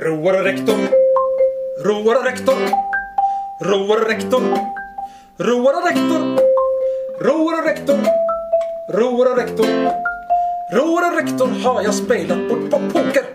Roar og rektor. Roar og rektor. Roar og rektor. Roar og rektor. Roar og rektor. Roar og rektor. Roar og rektor har jeg speilet bort på poker.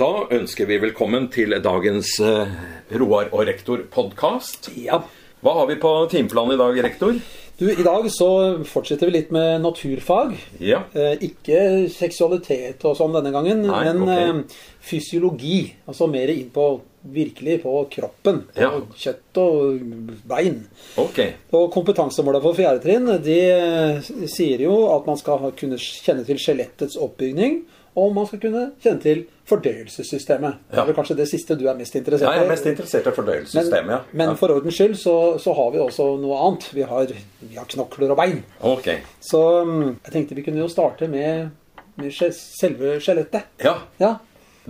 Da ønsker vi velkommen til dagens eh, Roar og rektor-podkast. Ja. Hva har vi på timeplanen i dag, rektor? Du, I dag så fortsetter vi litt med naturfag. Ja. Eh, ikke seksualitet og sånn denne gangen, Nei, men ok. eh, fysiologi. Altså mer inn på virkelig på kroppen. På Ja. kjøtt og bein. Ok. Og kompetansemåla for fjerde trinn de eh, sier jo at man skal ha- kunne kjenne til skjelettets oppbygning. Og man skal kunne kjenne til fordøyelsessystemet. Det Ja. er vel kanskje det siste du er mest interessert Jeg i? er mest interessert i fordøyelsessystemet, ja. Men, men for ordens skyld så, så har vi også noe annet. Vi har, vi har knokler og bein. Ok. Så mm, jeg tenkte vi kunne jo starte med, med skje- selve skjelettet. Ja. Ja.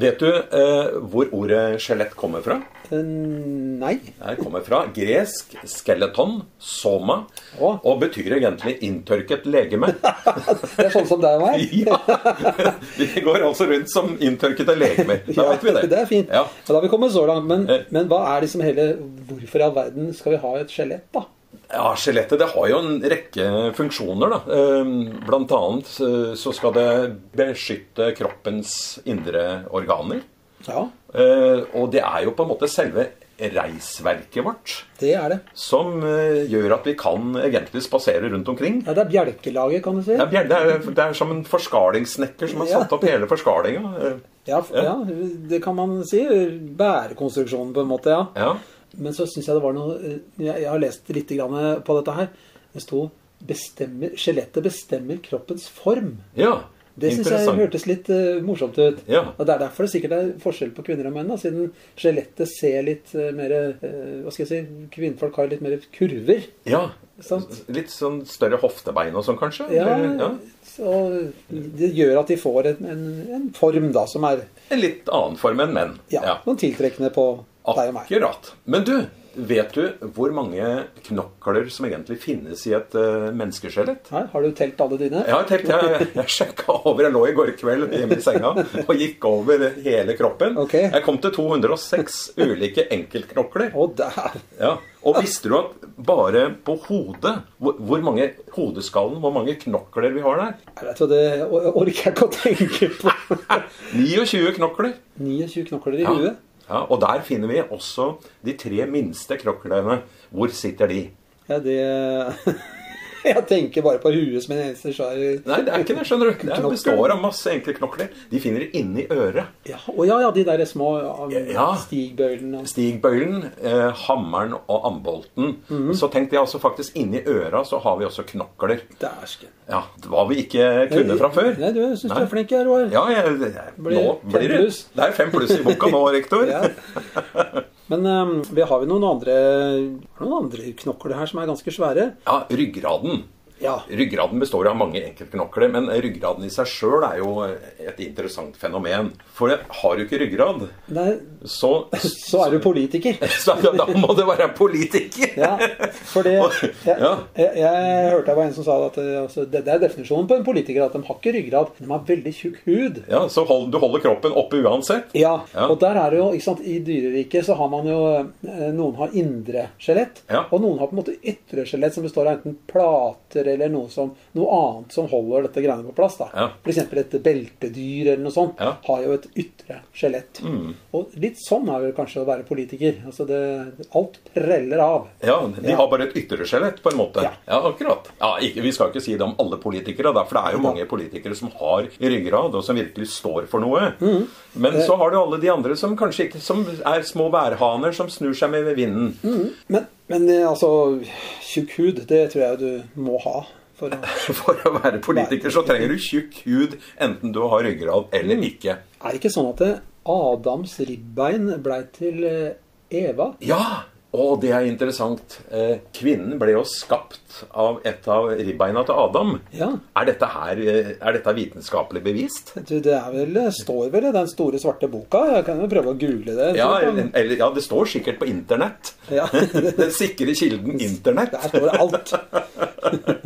Vet du eh, hvor ordet skjelett kommer fra? Eh, Nei. Det kommer fra gresk skeleton, soma, Å. og betyr egentlig inntørket legeme. Det er sånn som deg og meg. Ja! De går altså rundt som inntørkede legemer. Da vet vi det. Det er fint. Ja. Og Da har vi kommet så langt. Men, Eh. men hva er liksom hele Hvorfor i all verden skal vi ha et skjelett, da? Ja, skjelettet det har jo en rekke funksjoner. da. Ehm, Blant annet eh, så skal det beskytte kroppens indre organer. Ja, Eh, Og det er jo på en måte selve reisverket vårt det er det. som eh, gjør at vi kan egentlig spasere rundt omkring. Ja, det er bjelkelaget, kan du si. Det er, bjer- det er, det er som en forskalingssnekker som har Ja. satt opp hele forskalinga. Eh, Ja, f- ja, det kan man si. Bærekonstruksjonen, på en måte. ja. Ja. Men så syns jeg det var noe eh, Jeg, jeg har lest litt grann eh, på dette her. Det sto bestemmer, 'Skjelettet bestemmer kroppens form'. ja. Det syns jeg Interessant. hørtes litt eh, morsomt ut. Ja. Og Det er derfor det sikkert er forskjell på kvinner og menn. Da, siden skjelettet ser litt eh, mer eh, Hva skal jeg si Kvinnfolk har litt mer kurver. Ja. Sant? Litt sånn større hoftebein og sånn, kanskje? Ja, Eller- ja. Og det gjør at de får en, en, en form da som er En litt annen form enn menn. ja, noen tiltrekkende på deg og meg. Akkurat. Men du, vet du hvor mange knokler som egentlig finnes i et eh, menneskeskjelett? Her, har du telt alle dine? Jeg har telt, jeg, jeg sjekka over. Jeg lå i går kveld hjemme i senga og gikk over hele kroppen. Ok. Jeg kom til 206 ulike enkeltknokler. Å, der. Ja. Og visste du at bare på hodet hvor, hvor mange hodeskallen, hvor mange knokler vi har der? Jeg vet jo det jeg orker jeg ikke å tenke på. 29 knokler. 29 knokler i Ja. huet. Ja, og der finner vi også de tre minste knoklene. Hvor sitter de? Ja, det Jeg tenker bare på huet som en eneste svær Nei, det er ikke det, skjønner du. Det Knokler. består av masse enkle knokler. De finner det inni øret. ja, Å ja, ja, de der små ja, Ja. stigbøylene og Stigbøylen, eh, hammeren og ambolten. Så tenkte jeg altså faktisk inni øra så har vi også knokler. Dæsken. Ja, Hva vi ikke kunne fra før. Nei, du syns du Nei. er flink, jeg, Roar. Ja, jeg, jeg, Blir nå fem blir det pluss. Det er fem pluss i boka nå, rektor. Ja. Men um, vi har jo noen andre noen andre knokler her som er ganske svære. Ja, ryggraden. Ja. Ryggraden består av mange enkeltknokler, men ryggraden i seg sjøl er jo et interessant fenomen. For har du ikke ryggrad, Nei, så, så er du politiker. så da, da må du være politiker! Ja, for det jeg, Ja. jeg, jeg hørte det var en som sa at eh, altså, det, det er definisjonen på en politiker at de har ikke ryggrad, men de har veldig tjukk hud. Ja, så hold, du holder kroppen oppe uansett? Ja, Ja. og der er det jo, ikke sant, I dyreriket så har man jo eh, Noen har indre skjelett, Ja. og noen har på en måte ytre skjelett, som består av enten plater eller noe, som, noe annet som holder dette greiene på plass. da. Ja. For eksempel et beltedyr eller noe sånt Ja. Mm. har jo et ytre skjelett. Og litt sånn er det kanskje å være politiker. Altså det, alt preller av. Ja, De Ja. har bare et ytre skjelett, på en måte. Ja. Ja, akkurat. Ja, ikke, vi skal ikke si det om alle politikere, da, for det er jo mange politikere som har ryggrad, og som virkelig står for noe. Mm. Men Eh. så har du alle de andre som kanskje ikke som er små værhaner som snur seg med vinden. Mm. Men, men eh, altså, tjukk hud, det tror jeg du må ha. For å... For å være politiker så trenger du tjukk hud, enten du har ryggrad eller ikke. Er det ikke sånn at det- Adams ribbein blei til eh, Eva? Ja, og det er interessant. Eh, Kvinnen ble jo skapt av et av ribbeina til Adam. Ja. Er dette her eh, er dette vitenskapelig bevist? Du, det er vel, eh, står vel i den store svarte boka? Jeg kan jo prøve å google det. Ja, Så kan- eller, ja, det står sikkert på internett. Ja. Den sikre kilden internett. Der står det alt.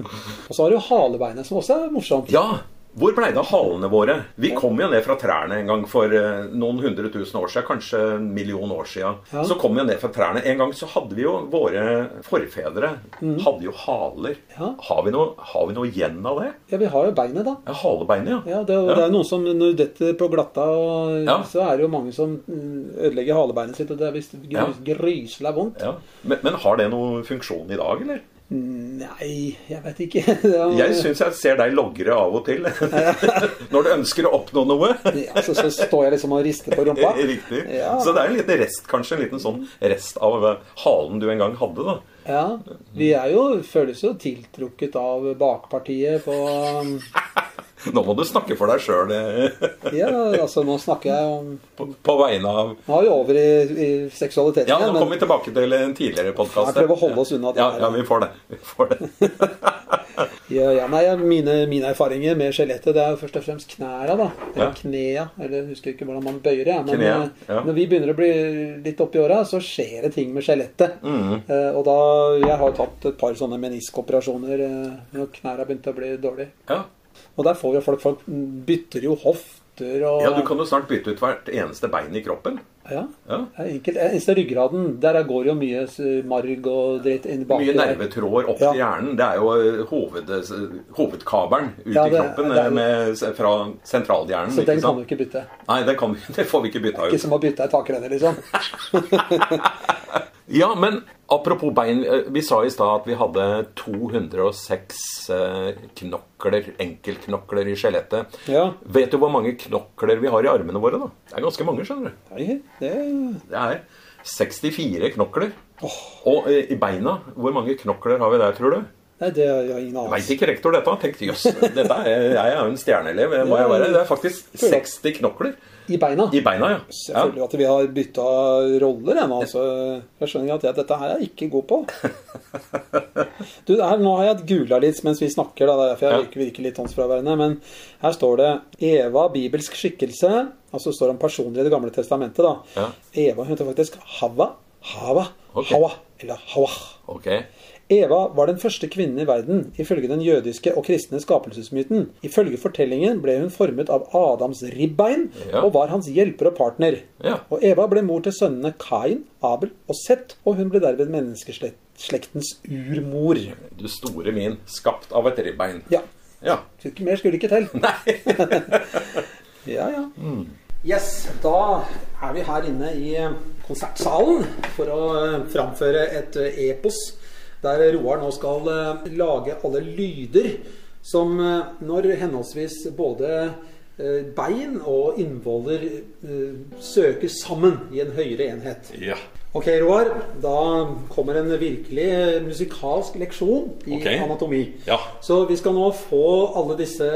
Og så har du halebeinet, som også er morsomt. Ja, Hvor pleide halene våre? Vi kom jo ned fra trærne en gang for eh, noen hundre tusen år siden, kanskje en million år siden. Ja. Så kom vi jo ned fra trærne. En gang så hadde vi jo våre forfedre hadde jo haler. Mhm. Ja. Har, vi noe, har vi noe igjen av det? Ja, vi har jo beinet, da. Ja, halebeinet, ja. Ja, det, er jo- det er jo noen som når du detter på glatta, og, Ja. så er det jo mange som mm, ødelegger halebeinet sitt, og det er visst gry- Ja. gryselig vondt. Ja. Men, men har det noen funksjon i dag, eller? Nei, jeg vet ikke. Det er- Jeg syns jeg ser deg logre av og til. Når du ønsker å oppnå noe. Ja, så, så står jeg liksom og rister på rumpa. Riktig. Ja. Så det er en liten rest, kanskje. En liten sånn rest av eh, halen du en gang hadde, da. Ja, vi er jo, føles jo tiltrukket av bakpartiet på um, Nå må du snakke for deg sjøl Ja, altså nå snakker jeg om på, på vegne av Nå er vi over i, i seksualiteten. Ja, nå igjen, men- kommer vi tilbake til en tidligere podkast. Jeg prøver å holde oss unna det Ja, her, ja, da. vi får det. Vi får det. Ja, ja, nei, ja, mine, mine erfaringer med skjelettet det er jo først og fremst knæra, da. Eller Ja. knea, eller jeg husker ikke hvordan man bøyer det. Men Knea, eh, ja. når vi begynner å bli litt oppi åra, så skjer det ting med skjelettet. Mm. Eh, og da Jeg har jo tatt et par sånne meniskoperasjoner eh, når knæra begynte å bli dårlig. Ja. Og der får jo folk Folk bytter jo hofter og ja, du kan jo snart bytte ut hvert eneste bein i kroppen. Ja. Ja. Det er Enkelt. Eneste ryggraden. Der går jo mye eh, marg og dritt inn baki. Mye der. nervetråder opp Ja. til hjernen. Det er jo eh, hoved, hovedkabelen ut Ja, det- i kroppen eh, det er jo- med, fra sentralhjernen. Så ikke den kan sant? du ikke bytte. Nei, den kan vi, det får vi ikke bytta ut. Ikke som å bytte ei takrenne, liksom. Ja, men apropos bein. eh, Vi sa i stad at vi hadde 206 eh, knokler, enkeltknokler i skjelettet. Ja. Vet du hvor mange knokler vi har i armene våre, da? Det er ganske mange, skjønner du. Nei, det Det er 64 knokler. Og eh, i beina, hvor mange knokler har vi der, tror du? Nei, det har jeg ingen Veit anelse ikke rektor dette? Han tenkte jøss, dette er, jeg er jo en stjerneelev. jeg Må jeg være? Det er faktisk 60 knokler I beina? i beina, ja. ja. Selvfølgelig at vi har bytta roller ennå. Altså. Jeg skjønner at jeg, dette her er jeg ikke god på. Du, her, nå har jeg gula litt mens vi snakker, da, det er derfor jeg Ja. virker, virker litt håndsfraværende. Men her står det 'Eva, bibelsk skikkelse'. Altså står det om personer i Det gamle testamentet. da. Ja. Eva hun heter faktisk Hava. Hava. Ok. Hawa. Eller Hawa. Ok. Eva var den første kvinnen i verden, ifølge den jødiske og kristne skapelsesmyten. Ifølge fortellingen ble hun formet av Adams ribbein Ja. og var hans hjelper og partner. Ja. Og Eva ble mor til sønnene Kain, Abel og Seth, og hun ble derved menneskeslektens urmor. Du store min, skapt av et ribbein. Ja. ja. skulle ikke- Mer skulle ikke til. Nei. Ja, ja. Mm. Yes, da er vi her inne i konsertsalen for å eh, framføre et eh, epos der Roar nå skal eh, lage alle lyder som eh, når henholdsvis både eh, bein og innvoller eh, søker sammen i en høyere enhet. Ja. Ok, Roar. Da kommer en virkelig eh, musikalsk leksjon i Ok. anatomi. Ja. Så vi skal nå få alle disse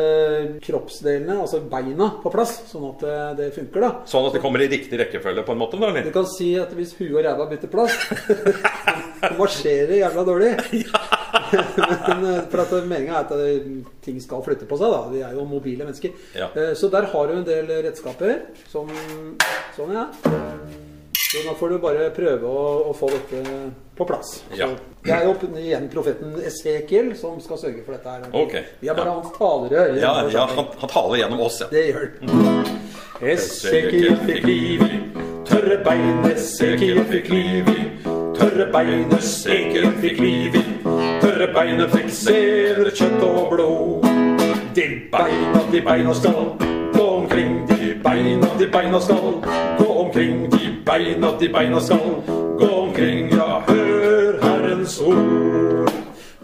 kroppsdelene, altså beina, på plass, sånn at eh, det funker, da. Sånn at det kommer i riktig rekkefølge, på en måte? da, Du eller? kan si at hvis huet og ræva bytter plass Det marsjerer jævla dårlig. Men, eh, for at meninga er at eh, ting skal flytte på seg, da. Vi er jo mobile mennesker. Ja. Eh, Så der har du en del redskaper. Som, sånn, ja. Så nå får du bare prøve å, å få dette på plass. Så Ja. Det er jo opp- igjen profeten Esekiel som skal sørge for dette her. Ok. Vi er bare Ja. hans talerør. i Ja, denne ja forsamlingen. han, han taler gjennom oss, ja. Det gjør den. Esekiel fikk liv i tørre bein, Esekiel fikk liv i tørre bein, Esekiel fikk liv i tørre bein, fikk sener, kjøtt og blod. De beina, de beina skal gå omkring, de beina, de beina skal gå omkring, de beina, de beina skal gå omkring, ja, hør Herrens ord.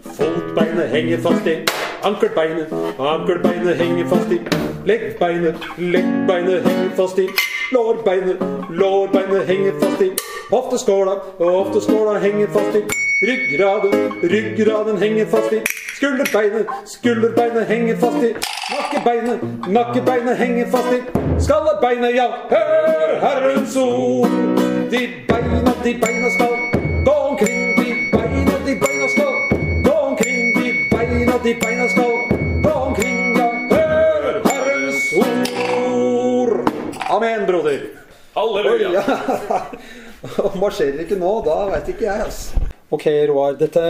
Fotbeinet henger fast i ankelbeinet, ankelbeinet henger fast i leggbeinet, leggbeinet henger fast i lårbeinet, lårbeinet henger fast i hofteskåla, og hofteskåla henger fast i ryggraden, ryggraden henger fast i skulderbeinet, skulderbeinet henger fast i nakkebeinet, nakkebeinet henger fast i skallebeinet, ja, hør Herrens ord. De beina, de beina skal gå omkring, de beina, de beina skal gå omkring, de beina, de beina skal gå omkring, ja, hør Herrens ord. Amen, broder. Halleluja! Ja. Og marsjerer mm, ikke nå, da veit ikke jeg, altså. Ok, Roar. Dette,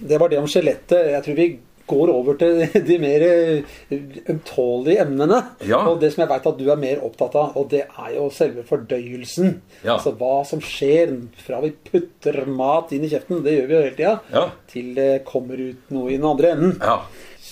det var det om skjelettet. Jeg tror vi går over til de mer eh, ømtålige emnene. Ja. Og det som jeg veit at du er mer opptatt av, og det er jo selve fordøyelsen. Ja. Altså hva som skjer fra vi putter mat inn i kjeften, det gjør vi jo hele tida, Ja. til det kommer ut noe i den andre enden. Ja.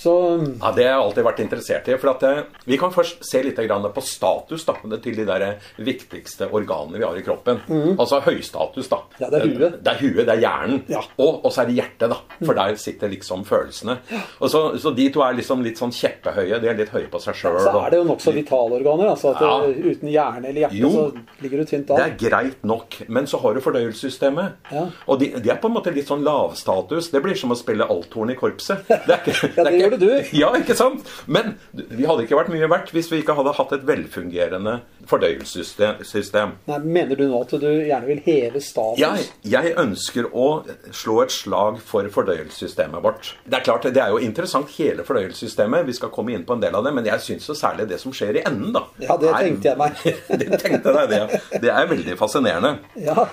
Så mm, Ja, Det har jeg alltid vært interessert i. for at eh, Vi kan først se litt grann på status da, til de der viktigste organene vi har i kroppen. Altså høystatus. da. Mhm. Ja, det er huet. Det er huet, det er hjernen. Ja. Mhm. Og, og så er det hjertet, da. For der sitter liksom følelsene. Og så, så de to er liksom litt sånn kjeppehøye. De er litt høye på seg sjøl. så er det jo nokså vitale organer. Altså at Ja. det- uten hjerne eller hjerte Jo. så ligger du tynt Det an. er greit nok, men så har du fordøyelsessystemet. Ja. Og de, de er på en måte litt sånn lavstatus. Det blir som å spille althorn i korpset. Det er ikke, Ja, det er gjorde du. Ja, ikke sant? Men vi hadde ikke vært mye verdt hvis vi ikke hadde hatt et velfungerende fordøyelsessystem. system. Nei, mener du nå at du gjerne vil heve status? Jeg, jeg ønsker å slå et slag for fordøyelsessystemet vårt. Det er klart, det er jo interessant hele fordøyelsessystemet. Vi skal komme inn på en del av det, men jeg syns jo særlig det som skjer i enden, da. Ja, det er- tenkte jeg meg. det tenkte deg det. Det er veldig fascinerende. Ja.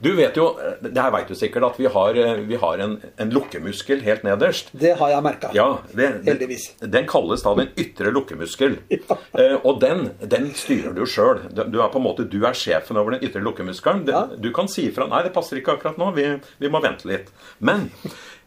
Du vet jo, eh, det her vet du sikkert, at vi har, eh, vi har en, en lukkemuskel helt nederst. Det har jeg merka. Ja, det, det- Heldigvis. Den kalles da den ytre lukkemuskel. Eh, og den, den styrer du sjøl. Du du er på en måte, du er sjefen over den ytre lukkemuskelen. Det- Ja. Du kan si ifra 'nei, det passer ikke akkurat nå, vi, vi må vente litt'. Men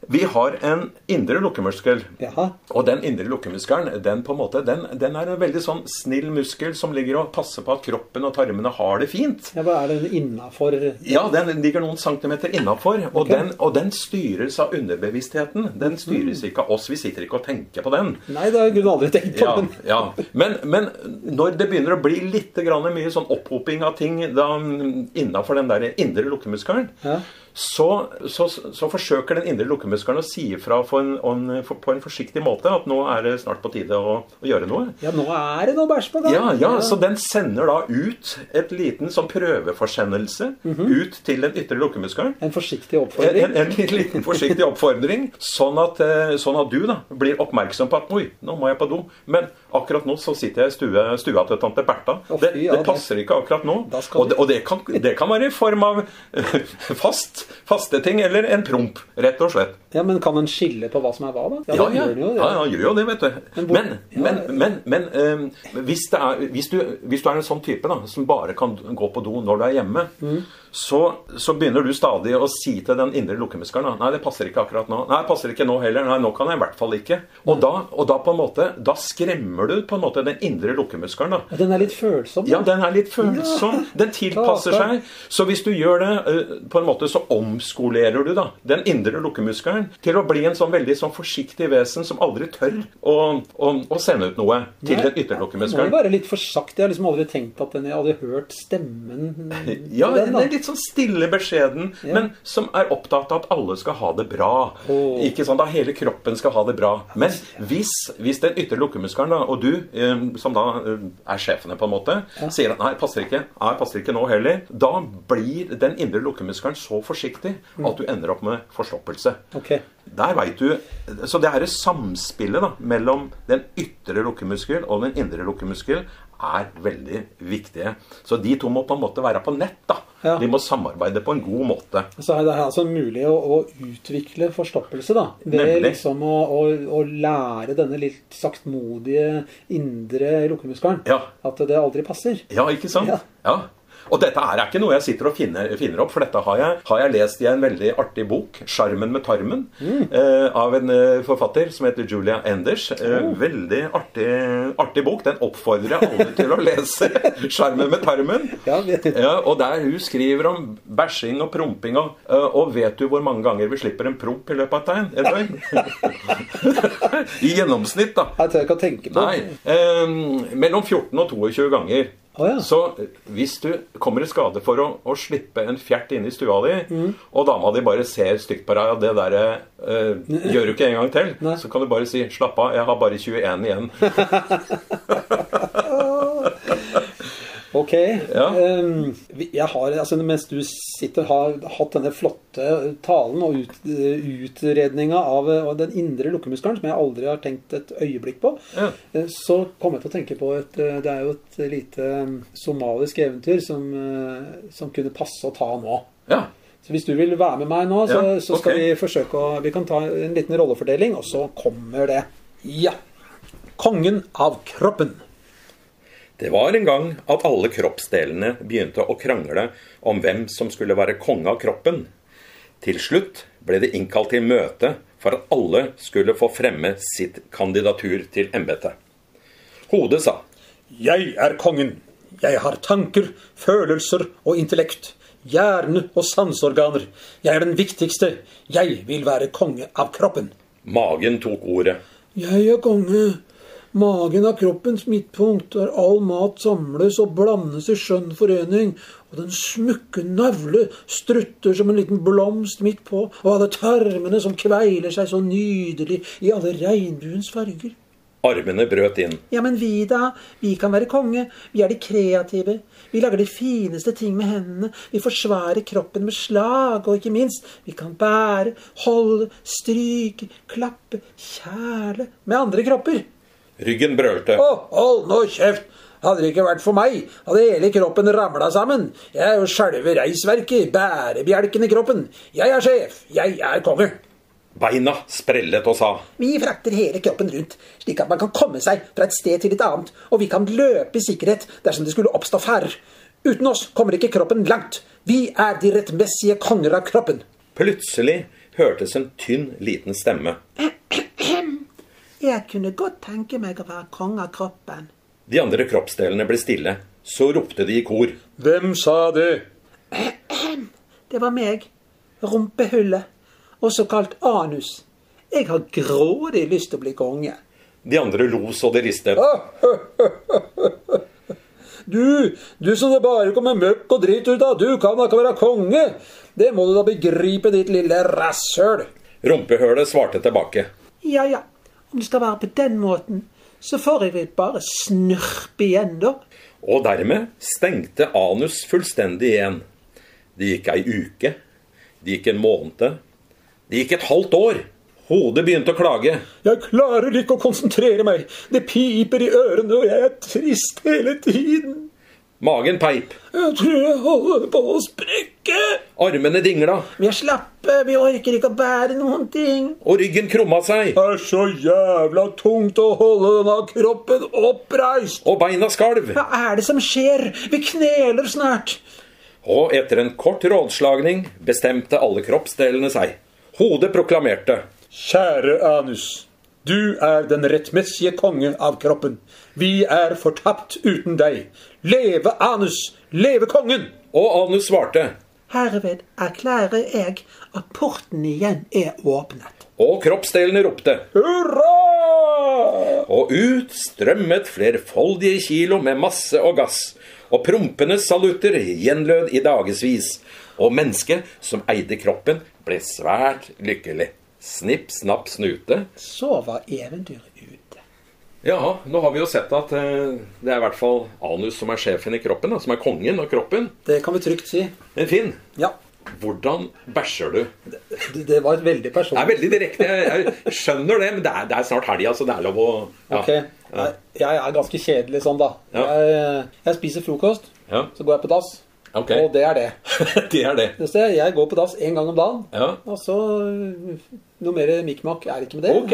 vi har en indre lukkemuskel. Jaha. Og den indre lukkemuskelen den på en måte, den, den er en veldig sånn snill muskel som ligger og passer på at kroppen og tarmene har det fint. Ja, hva er det innafor Ja, den ligger noen centimeter innafor. Og, den, og den styres av underbevisstheten. Den styres ikke av oss. Vi sitter ikke og tenker på den. Nei, det har jeg i grunnen aldri tenkt på. Mm. Ja, men- ja. Men, men når det begynner å bli litt grann mye sånn opphoping av ting innafor den der indre lukkemuskelen, Ja. så, så, så forsøker den indre lukkemuskelen å si ifra på en, en, på en forsiktig måte at nå er det snart på tide å, å gjøre noe. Ja, nå er det noe bæsj på gang. Ja, ja, så den sender da ut et liten sånn prøveforsendelse ut til den ytre lukkemuskelen. En forsiktig En, oppfordring. en, en liten forsiktig oppfordring, sånn at, eh, sånn at du da blir oppmerksom på at Oi, nå må jeg på do. Men akkurat nå så sitter jeg i stue, stua til tante Bertha. Å, Det, fy, ja, det det- passer ikke akkurat nå. Da skal Og, det, og det, kan, det kan være i form av eh, fast, faste ting eller en promp, rett og slett. Ja, Men kan en skille på hva som er hva, da? Ja, det ja. gjør en ja, jo, ja, han gjør jo det, vet du. Men hvor- Men, men, men, men eh, hvis, det er, hvis, du, hvis du er en sånn type da, som bare kan gå på do når du er hjemme, Mm. så, så begynner du stadig å si til den indre lukkemuskelen da, Nei, det passer ikke akkurat nå. Nei, det passer ikke nå heller. Nei, nå kan jeg i hvert fall ikke. Mm. Og da, og da på en måte, da skremmer du på en måte den indre lukkemuskelen. da. Ja, Den er litt følsom. Ja, da. den er litt følsom. Den tilpasser Klart det. seg. Så hvis du gjør det eh, på en måte, så omskolerer du da den indre lukkemuskelen til å bli en sånn veldig sånn forsiktig vesen som aldri tør å, å, å sende ut noe til Nei, den ytre Det må jo lukkemuskelen. være litt for sakte. Jeg har liksom aldri tenkt at den, jeg hadde hørt stemmen Ja, den til den, da. er litt sånn stille, beskjeden, men som er opptatt av at alle skal ha det bra. Åh. Ikke sant, da Hele kroppen skal ha det bra. Men hvis, hvis den ytre lukkemuskelen, da, og du, eh, som da eh, er sjefene, på en måte, sier at nei, passer ikke, nei, passer ikke nå heller, da blir den indre lukkemuskelen så forsiktig at du ender opp med forstoppelse. Mm. Ok. Der vet du, Så det her samspillet da, mellom den ytre lukkemuskel og den indre lukkemuskel er veldig viktige. Så de to må på en måte være på nett. da. Ja. De må samarbeide på en god måte. Så er det her altså mulig å, å utvikle forstoppelse, da. Ved Nemlig. liksom å, å, å lære denne litt saktmodige indre lukkemuskelen Ja. at det aldri passer. Ja, ikke sant? Ja. Ja. Og dette her er ikke noe jeg sitter og finner, finner opp, for dette har jeg, har jeg lest i en veldig artig bok, 'Sjarmen med tarmen', Mm. eh, av en eh, forfatter som heter Julia Enders. Eh, Oh. veldig artig, artig bok. Den oppfordrer jeg alle til å lese. 'Sjarmen med tarmen'. Ja, vi- Ja, og der hun skriver om bæsjing og promping og, eh, og vet du hvor mange ganger vi slipper en promp i løpet av et døgn? I gjennomsnitt, da. Jeg tør ikke å tenke på Nei. Eh, mellom 14 og 22 ganger. Å, ja. Så eh, hvis du kommer i skade for å, å slippe en fjert inn i stua di, Mm. og dama di bare ser stygt på deg, og det derre eh, gjør du ikke en gang til, Nei. så kan du bare si 'slapp av, jeg har bare 21 igjen'. Ok. Ja. Ehm, vi- jeg har, altså, mens du sitter har hatt denne flotte talen og ut, utredninga av, eh, av den indre lukkemuskelen, som jeg aldri har tenkt et øyeblikk på, Ja. eh, så kom jeg til å tenke på et eh, Det er jo et ehm, lite eh, somalisk eventyr som, eh, som kunne passe å ta nå. Ja. Så hvis du vil være med meg nå, så, Ja, så skal ok. vi forsøke å Vi kan ta en liten rollefordeling, og så kommer det. Ja. Kongen av kroppen. Det var en gang at alle kroppsdelene begynte å krangle om hvem som skulle være konge av kroppen. Til slutt ble det innkalt til møte for at alle skulle få fremme sitt kandidatur til embetet. Hodet sa Jeg er kongen. Jeg har tanker, følelser og intellekt. Hjerne og sanseorganer. Jeg er den viktigste. Jeg vil være konge av kroppen. Magen tok ordet. Jeg er konge. Magen er kroppens midtpunkt, der all mat samles og blandes i skjønn forening, og den smukke navle strutter som en liten blomst midt på, og alle tarmene som kveiler seg så nydelig i alle regnbuens farger. Armene brøt inn. Ja, men vi da? Vi kan være konge. Vi er de kreative. Vi lager de fineste ting med hendene. Vi forsvarer kroppen med slag, og ikke minst, vi kan bære, holde, stryke, klappe, kjæle med andre kropper. Ryggen brølte. Å, hold nå kjeft! Hadde det ikke vært for meg, hadde hele kroppen ramla sammen. Jeg er jo selve reisverket, bærebjelken i kroppen. Jeg er sjef, jeg er konge. Beina sprellet og sa Vi frakter hele kroppen rundt, slik at man kan komme seg fra et sted til et annet, og vi kan løpe i sikkerhet dersom det skulle oppstå farer. Uten oss kommer ikke kroppen langt. Vi er de rettmessige konger av kroppen. Plutselig hørtes en tynn, liten stemme. Jeg kunne godt tenke meg å være konge av kroppen. De andre kroppsdelene ble stille. Så ropte de i kor. Hvem sa det? Det var meg. Rumpehullet. Også kalt anus. Jeg har grådig lyst til å bli konge. De andre lo så de ristet. Du, du som det bare kommer møkk og drit ut av, du kan da ikke være konge! Det må du da begripe, ditt lille rasshøl! Rumpehølet svarte tilbake. Ja ja, om det skal være på den måten, så får jeg vel bare snurpe igjen, da. Og dermed stengte anus fullstendig igjen. Det gikk ei uke. Det gikk en måned. Det gikk et halvt år. Hodet begynte å klage. Jeg klarer ikke å konsentrere meg, det piper i ørene, og jeg er trist hele tiden. Magen peip. Jeg tror jeg holder på å sprekke. Armene dingla. Vi er slappe, vi orker ikke å bære noen ting. Og ryggen krumma seg. Det er så jævla tungt å holde denne kroppen oppreist. Og beina skalv. Hva er det som skjer? Vi kneler snart. Og etter en kort rådslagning bestemte alle kroppsdelene seg. Hodet proklamerte. Kjære Anus, du er den rettmessige konge av kroppen. Vi er fortapt uten deg. Leve Anus, leve kongen! Og anus svarte. Herved erklærer jeg at porten igjen er åpnet. Og kroppsdelene ropte. Hurra! Og ut strømmet flerfoldige kilo med masse og gass. Og prompenes salutter gjenlød i dagevis. Og mennesket som eide kroppen, ble svært lykkelig. Snipp, snapp, snute. Så var eventyret ute. Ja, nå har vi jo sett at eh, det er i hvert fall anus som er sjefen i kroppen, da, som er kongen av kroppen. Det kan vi trygt si. Men Finn, Ja. hvordan bæsjer du? Det Det det var et veldig personlig er veldig direkte, jeg, jeg skjønner det, men det er, det er snart helga, så det er lov å ja. Ok, Nei, Jeg er ganske kjedelig sånn, da. Ja. Jeg, jeg spiser frokost, Ja. så går jeg på dass. Ok. Og det er det. det er det. Det ser jeg. jeg går på dass én gang om dagen. Ja. Og så øh, Noe mer mikk-makk er det ikke med det. Ok,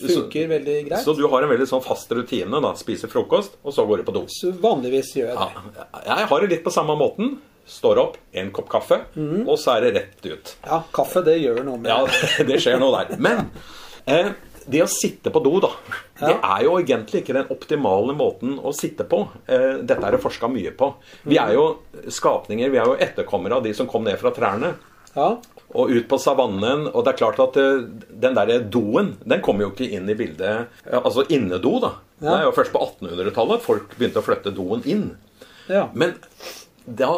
Det funker så- veldig greit. Så du har en veldig sånn fast rutine. da, Spiser frokost, og så går du på do. Så vanligvis gjør jeg det. Ja, jeg har det litt på samme måten. Står opp, en kopp kaffe, Mhm. og så er det rett ut. Ja, kaffe, det gjør noe med Ja, det skjer noe der. Men eh, det å sitte på do, da, det er jo egentlig ikke den optimale måten å sitte på. Eh, dette er det forska mye på. Vi er jo skapninger, vi er jo etterkommere av de som kom ned fra trærne. Ja. Og ut på savannen. Og det er klart at eh, den derre doen, den kom jo ikke inn i bildet eh, Altså innedo, da. Det er jo først på 1800-tallet at folk begynte å flytte doen inn. ja. Men da,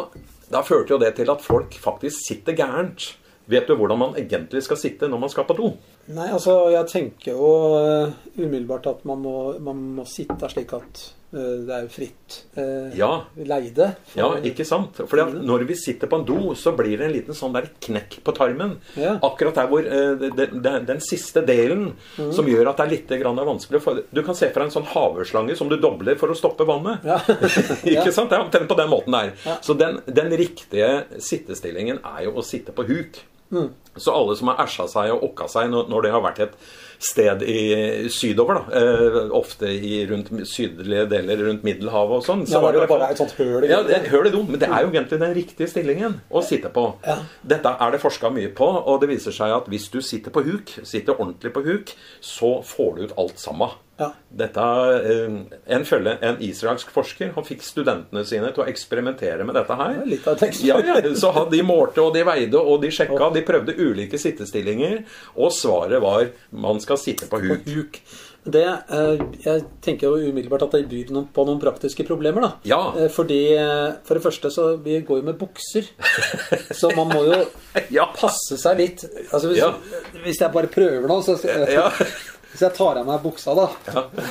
da førte jo det til at folk faktisk sitter gærent. Vet du hvordan man egentlig skal sitte når man skal på do? Nei, altså, jeg tenker jo eh, umiddelbart at man må, man må sitte slik at eh, det er fritt eh, Ja. leide. for- Ja, ikke sant? For når vi sitter på en do, så blir det en liten sånn der knekk på tarmen. Ja. Akkurat der hvor eh, det- det- det- den siste delen Mhm. som gjør at det er litt grann vanskelig. For, du kan se for deg en sånn haveslange som du dobler for å stoppe vannet. Ja. Ja. ikke sant? Det er omtrent på den måten der. Så den, den riktige sittestillingen er jo å sitte på huk. Mm. Så alle som har æsja seg og okka seg når når det har vært et sted i sydover, da, eh, ofte i rundt sydlige deler rundt Middelhavet og sånn så Ja, var det i hvert bare fall- er et sånt høl i Ja, det, høl i do, men det er jo egentlig den riktige stillingen å sitte på. Dette er det forska mye på, og det viser seg at hvis du sitter på huk, sitter ordentlig på huk, så får du ut alt sammen. Ja. Dette, eh, en, følge, en israelsk forsker han fikk studentene sine til å eksperimentere med dette her. er litt av et ja, eksperiment. ja, så han- de målte og de veide og de sjekka. De prøvde ulike sittestillinger, og svaret var man skal sitte på huk. Huk. Det, eh, jeg tenker jo umiddelbart at det byr noen- på noen praktiske problemer. da. Ja. Eh, Fordi, eh, For det første, så vi går jo med bukser. Så man må jo Ja. passe seg litt. Altså, hvis, Ja. hvis jeg bare prøver nå, så Ja. Hvis jeg tar av meg buksa, da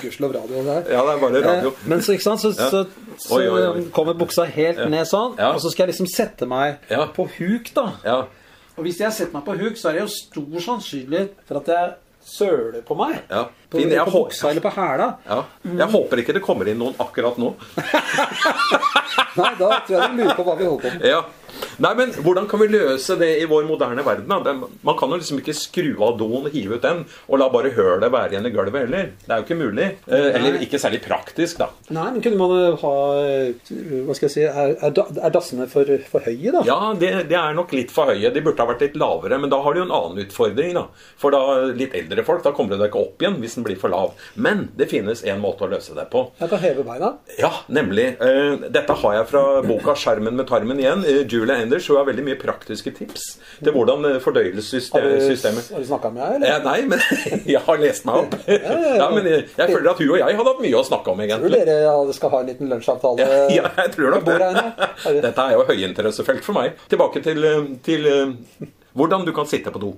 Gudskjelov radio det her. Ja, det er bare radio. Eh, Men så, ikke sant, så, Ja. så, så Oi, oi, oi. kommer buksa helt ned sånn, Ja. og så skal jeg liksom sette meg Ja. på huk, da. Ja. Og hvis jeg setter meg på huk, så er det jo stor sannsynlighet for at jeg søler på meg. Ja. På, Finn, jeg på hå- buksa eller på hæla. Ja. Jeg håper ikke det kommer inn noen akkurat nå. Nei, da tror jeg de lurer på hva vi holder på med. Ja. Nei, men Hvordan kan vi løse det i vår moderne verden? da? Det- Man kan jo liksom ikke skru av doen, hive ut den, og la bare hølet være igjen i gulvet heller. Det er jo ikke mulig. Eh, Eller ikke særlig praktisk, da. Nei, men kunne man eh, ha eh, Hva skal jeg si Er, er, da- er dassene for, for høye, da? Ja, det, det er nok litt for høye. De burde ha vært litt lavere, men da har du jo en annen utfordring, da. For da litt eldre folk, da kommer du deg ikke opp igjen hvis den blir for lav. Men det finnes en måte å løse det på. Jeg kan heve beina. Ja, nemlig. Eh, Dette har jeg fra boka 'Skjermen med tarmen' igjen. Eh, Julia Enders hun har veldig mye praktiske tips til hvordan eh, Har du, fordøyelsessystemet har du snakka med meg, eller? Eh, nei, men jeg har lest meg opp. Ja, men jeg, jeg føler at hun og jeg hadde hatt mye å snakke om, Tror egentlig. dere eh, alle skal ha en liten lunsjavtale? Ja, ja, jeg tror nok Hvor er det. den, da? Er det- Dette er jo høyinteressefelt for meg. Tilbake til, eh, til eh, hvordan du kan sitte på do.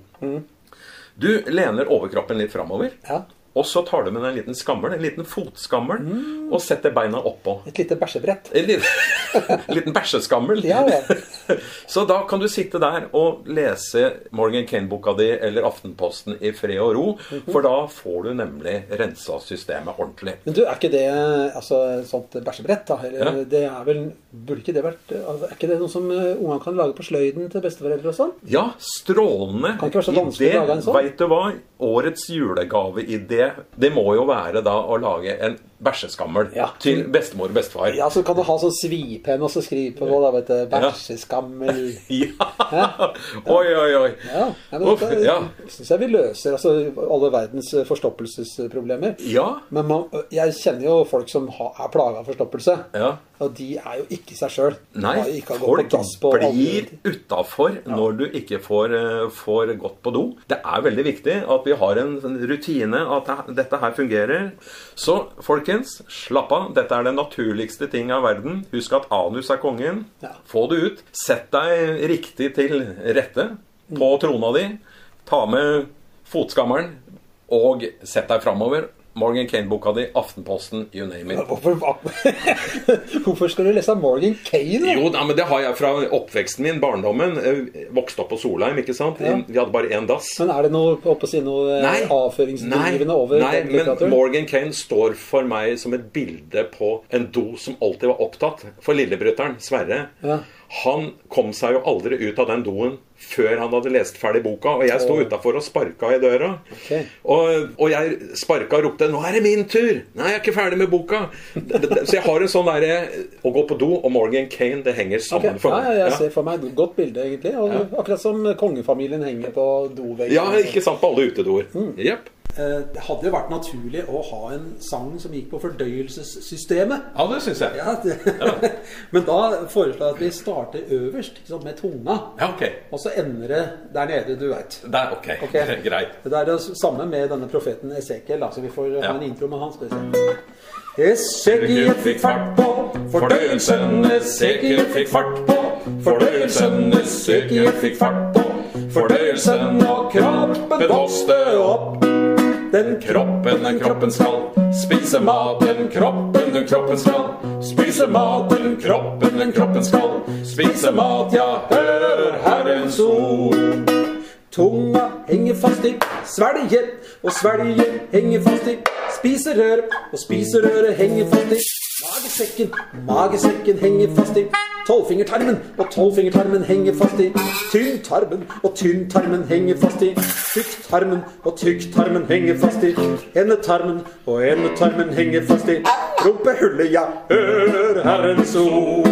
Du lener overkroppen litt framover. Mm. Ja. Og så tar du med deg en liten skammel, en liten fotskammel, Mm. og setter beina oppå. Et lite bæsjebrett. En liten, liten bæsjeskammel. Ja, ja. Så da kan du sitte der og lese Morgan Kane-boka di eller Aftenposten i fred og ro, Mhm. for da får du nemlig rensa systemet ordentlig. Men du, er ikke det altså, et sånt bæsjebrett, da? Eller, Ja. det er vel Burde ikke det vært altså, Er ikke det noe som eh, ungene kan lage på sløyden til besteforeldre og sånn? Ja, strålende. Kan ikke være så vanskelig å Idé. lage en sånn. Vet du hva? Årets julegaveidé, det må jo være da å lage en bæsjeskammel Ja. til bestemor og bestefar. Ja, så kan du ha sånn svipenn og så skrive på noe, da, vet du. Bæsjeskammel. Ja. Oi, oi, oi. Ja, ja, men Uff, dette ja. syns jeg vi løser altså, alle verdens eh, forstoppelsesproblemer. Ja. Men man, jeg kjenner jo folk som har, er plaga av forstoppelse. Ja. Og de er jo ikke seg sjøl. Nei, folk blir utafor når du ikke får, eh, får gått på do. Det er veldig viktig at vi har en sånn rutine, at det- dette her fungerer. Så folkens, slapp av. Dette er den naturligste ting av verden. Husk at anus er kongen. Ja. Få det ut. Sett deg riktig til rette på trona di. Ta med fotskammeren og sett deg framover. Morgan Kane-boka di, Aftenposten, you name it. Hvorfor, hvorfor skal du lese av Morgan Kane? da? Jo, nei, men det har jeg fra oppveksten min, barndommen. Eh, Vokste opp på Solheim, ikke sant? Vi hadde bare én dass. Men er det noe, holdt på å si, noe eh, avføringsdrivende over nei, den men litteraturen? Morgan Kane står for meg som et bilde på en do som alltid var opptatt. For lillebryteren, Sverre, Ja. han kom seg jo aldri ut av den doen før han hadde lest ferdig boka. Og jeg sto utafor og sparka i døra. Ok. Og, og jeg sparka og ropte 'Nå er det min tur!' 'Nei, jeg er ikke ferdig med boka'. Så jeg har en sånn derre Å gå på do og Morgan Kane, det henger Ok, sammen for ja, meg. ja, jeg Ja. ser for meg et godt bilde, egentlig. Og, Akkurat som kongefamilien henger på doveggen. Ja, ikke sant på alle utedoer. Mm. Jepp. Eh, Det hadde jo vært naturlig å ha en sang som gikk på fordøyelsessystemet. Ja, det syns jeg. Ja, det. Men da foreslår jeg at vi starter øverst, ikke sant, med tunga. Ja, ok. Og så ender det der nede, du veit. Der, ok. Ok. Greit. Det er det samme med denne profeten Esekiel. Da, så vi får Ja. ha en intro med han. Skal vi se. Esekiel fikk fart på fordøyelsen. Esekiel fikk fart på fordøyelsen. Esekiel fikk fart på Fordøyelsen og kroppen må stø opp. Den kroppen den kroppen skal spise maten kroppen den kroppen skal spise maten kroppen den kroppen skal spise mat, ja, hør Herrens ord. Tunga henger fast i svelget, og svelget henger fast i spiserøret, og spiserøret henger fast i magesekken. Magesekken henger fast i tolvfingertarmen, og tolvfingertarmen henger fast i tynntarmen, og tynntarmen henger fast i tykktarmen, og tykktarmen henger fast i endetarmen, og endetarmen henger fast i rumpehullet, ja, hør Herrens ord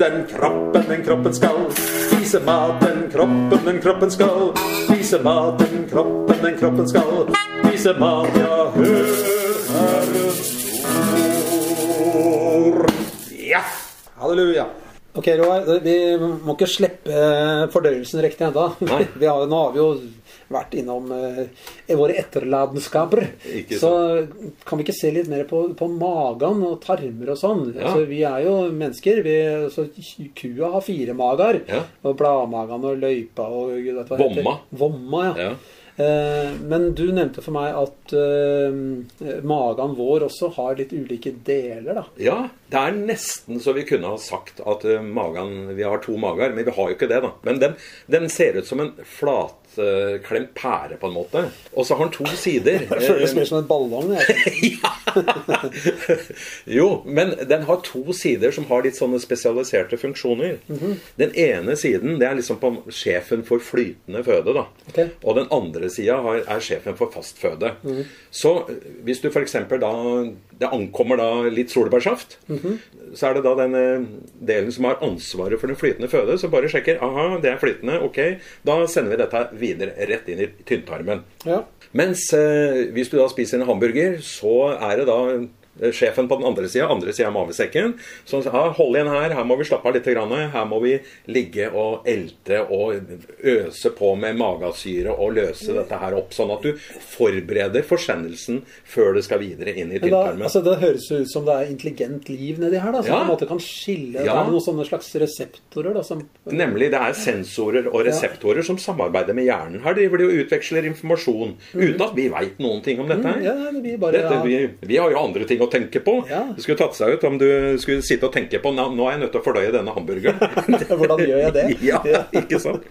den kroppen, den kroppen skal spise mat, den kroppen, den kroppen skal spise mat, den kroppen, den kroppen skal spise mat, ja, hør Herrens ord. Ja! Halleluja. Ok, Roar, vi må ikke slippe eh, fordøyelsen riktig ennå. Vi har, nå har vi jo vært innom eh, våre etterladenskaper. Ikke Så kan vi ikke se litt mer på, på magen og tarmer og sånn. Ja. Altså, vi er jo mennesker. Vi, så kua har fire mager. Ja. Og bladmagen og løypa og gud vet hva det heter. Vomma. Vomma, ja. Ja. Eh, Men du nevnte for meg at eh, magen vår også har litt ulike deler, da. Ja, det er nesten så vi kunne ha sagt at eh, magen, vi har to mager, men vi har jo ikke det, da. Men den, den ser ut som en flatklemt pære, på en måte. Og så har den to sider. Det føles mer som en ballong. Jeg. Jo, men den har to sider som har litt sånne spesialiserte funksjoner. Den ene siden det er liksom på sjefen for flytende føde. da. Ok. Og den andre sida har- er sjefen for fast føde. Så eh, hvis du f.eks. da Det ankommer da litt solbærsaft. Så er det da den eh, delen som har ansvaret for den flytende føde, som bare sjekker aha, det er flytende, ok, da sender vi dette videre rett inn i tynntarmen. Ja. Mens eh, hvis du da spiser en hamburger, så er det da eh, sjefen på den andre sida, andre sida av mavesekken, som sier ah, 'hold igjen her, her må vi slappe av litt', grann. her må vi ligge og elte og øse på med magasyre og løse dette her opp, sånn at du forbereder forsendelsen før det skal videre inn i Men da, tynntarmen. altså, det høres jo ut som det er intelligent liv nedi her, da, som Ja. på en måte kan skille Det Ja. er noen sånne slags reseptorer da, som Nemlig, det er sensorer og reseptorer som samarbeider med hjernen. Her driver de og utveksler informasjon uten at vi veit noen ting om dette. her. Mm, ja, det blir bare- dette, vi, vi har jo andre ting å tenke på. Ja. Det skulle tatt seg ut om du skulle sitte og tenke på Nå nå er jeg nødt til å fordøye denne hamburgeren. Hvordan gjør jeg det? ja, ikke sant?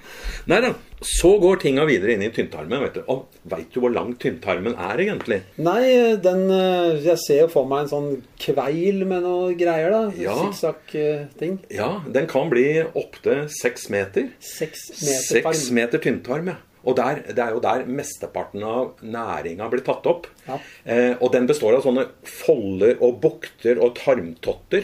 Nei da. Så går tinga videre inn i tynntarmen. Vet du. Og veit du hvor lang tynntarmen er, egentlig? Nei, den eh, Jeg ser jo for meg en sånn kveil med noe greier, da. eh, Ja. Sikksakk-ting. Ja, den kan bli opptil seks meter. Seks meter Seks tarm. meter tynntarm, ja. Og der, det er jo der mesteparten av næringa blir tatt opp. Ja. Eh, og den består av sånne folder og bukter og tarmtotter.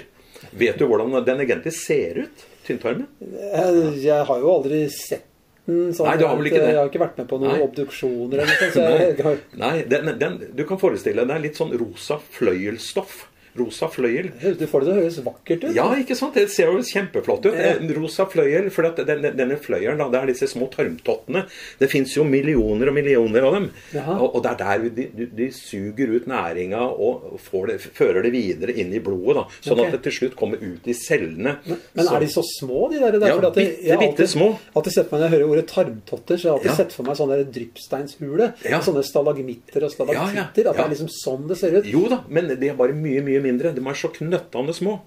Vet du hvordan den egentlig ser ut? Tynntarmen? Jeg, Eh, jeg har jo aldri sett den sånn. Nei, du har vel at, ikke det. eh, Jeg har ikke vært med på noen Nei. obduksjoner eller noe sånt. Så jeg, jeg har, Nei, den, den, du kan forestille deg litt sånn rosa fløyelsstoff. Rosa fløyel. du får det til å høres vakkert ut. Ja, ikke sant? Det ser jo kjempeflott ut. En rosa fløyel. For at den, den- denne fløyelen, da, det er disse små tarmtottene. Det fins jo millioner og millioner av dem. Jaha. Og, og det er der de, de, de suger ut næringa og får det, fører det videre inn i blodet. da. Sånn Ok. at det til slutt kommer ut i cellene. Men Så- er de så små, de der? der? Ja, Fordi at jeg- bitte, jeg har bitte små. Alltid, alltid sett for meg Når jeg hører ordet tarmtotter, så har jeg Ja. alltid sett for meg sånne der dryppsteinshule. Ja. Sånne stalagmitter og Ja, ja, stalaktitter. At det ja. er liksom sånn det ser ut. Jo da, men de er bare mye, mye mindre. De er så knøttende små.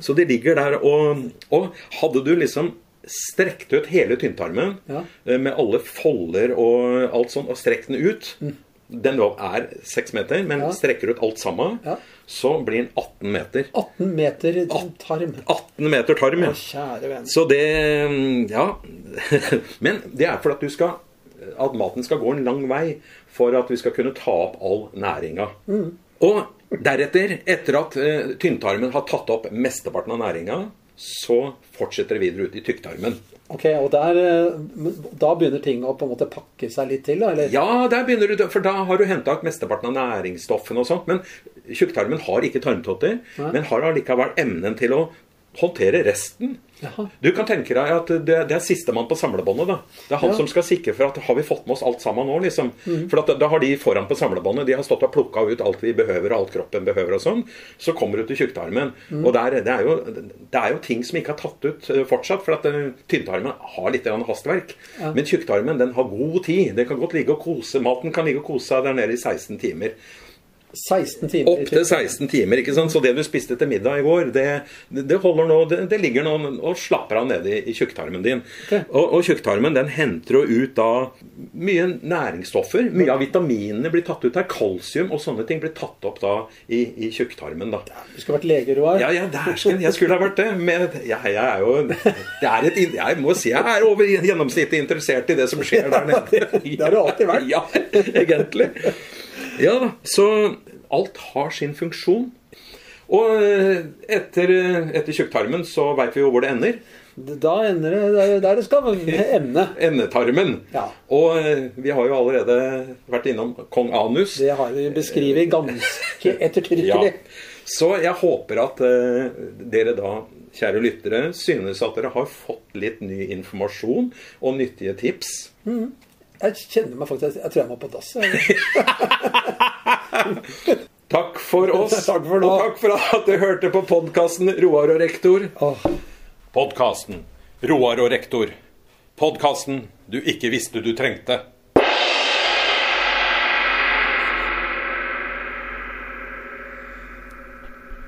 Så de ligger der og Og hadde du liksom strekt ut hele tynntarmen Ja. eh, med alle folder og alt sånt, og strekt den ut Mm. Den lov er seks meter, men strekker ut alt sammen, Ja. så blir den 18 meter. 18 meter tarm. 18 meter tarm, ja. Å, kjære venn. Så det mm, Ja. Men det er for at du skal At maten skal gå en lang vei for at vi skal kunne ta opp all næringa. Og deretter, etter at eh, tynntarmen har tatt opp mesteparten av næringa, så fortsetter det videre ut i tykktarmen. Ok, og der, eh, men da begynner ting å på en måte pakke seg litt til, da? Eller? Ja, der begynner du, for da har du henta ut mesteparten av næringsstoffene og sånt. Men tjukktarmen har ikke tarmtotter, men har allikevel evnen til å håndtere resten. Du kan tenke deg at det, det er sistemann på samlebåndet. da. Det er han som skal sikre for at har vi fått med oss alt sammen nå, liksom. For at, da har de foran på samlebåndet de har stått og plukka ut alt vi behøver, og alt kroppen behøver og sånn. Så kommer du til tjuktarmen. Og der, det, er jo, det er jo ting som ikke er tatt ut eh, fortsatt, for at eh, tynntarmen har litt grann hastverk. Men tjuktarmen den har god tid. Den kan godt ligge og kose. Maten kan ligge og kose seg der nede i 16 timer. 16 timer. Opp til 16 timer, ikke sant? Så det du spiste til middag i går, det, det holder nå det, det ligger nå og slapper av nede i, i tjukktarmen din. Og, og tjukktarmen den henter jo ut da mye næringsstoffer. Mye av vitaminene blir tatt ut der. Kalsium og sånne ting blir tatt opp da i, i tjukktarmen, da. Du skulle vært lege, Roar. Ja, ja, dæsken, jeg skulle ha vært det. Men jeg, jeg er jo det er et, in- Jeg må si jeg er over gjennomsnittet interessert i det som skjer der nede. det har du alltid vært. Ja, egentlig. Ja da. Så alt har sin funksjon. Og eh, etter, etter tjukktarmen så veit vi jo hvor det ender. Da ender det der, der det skal ende. Endetarmen. Ja. Og eh, vi har jo allerede vært innom kong Anus. Det har vi beskrevet ganske ettertrykkelig. Ja. Så jeg håper at eh, dere da, kjære lyttere, synes at dere har fått litt ny informasjon og nyttige tips. Jeg kjenner meg faktisk Jeg tror jeg må på dass. jeg. Takk for oss, Takk for nå. og takk for at du hørte på podkasten Roar og rektor. Åh. Podkasten Roar og rektor. Podkasten du ikke visste du trengte.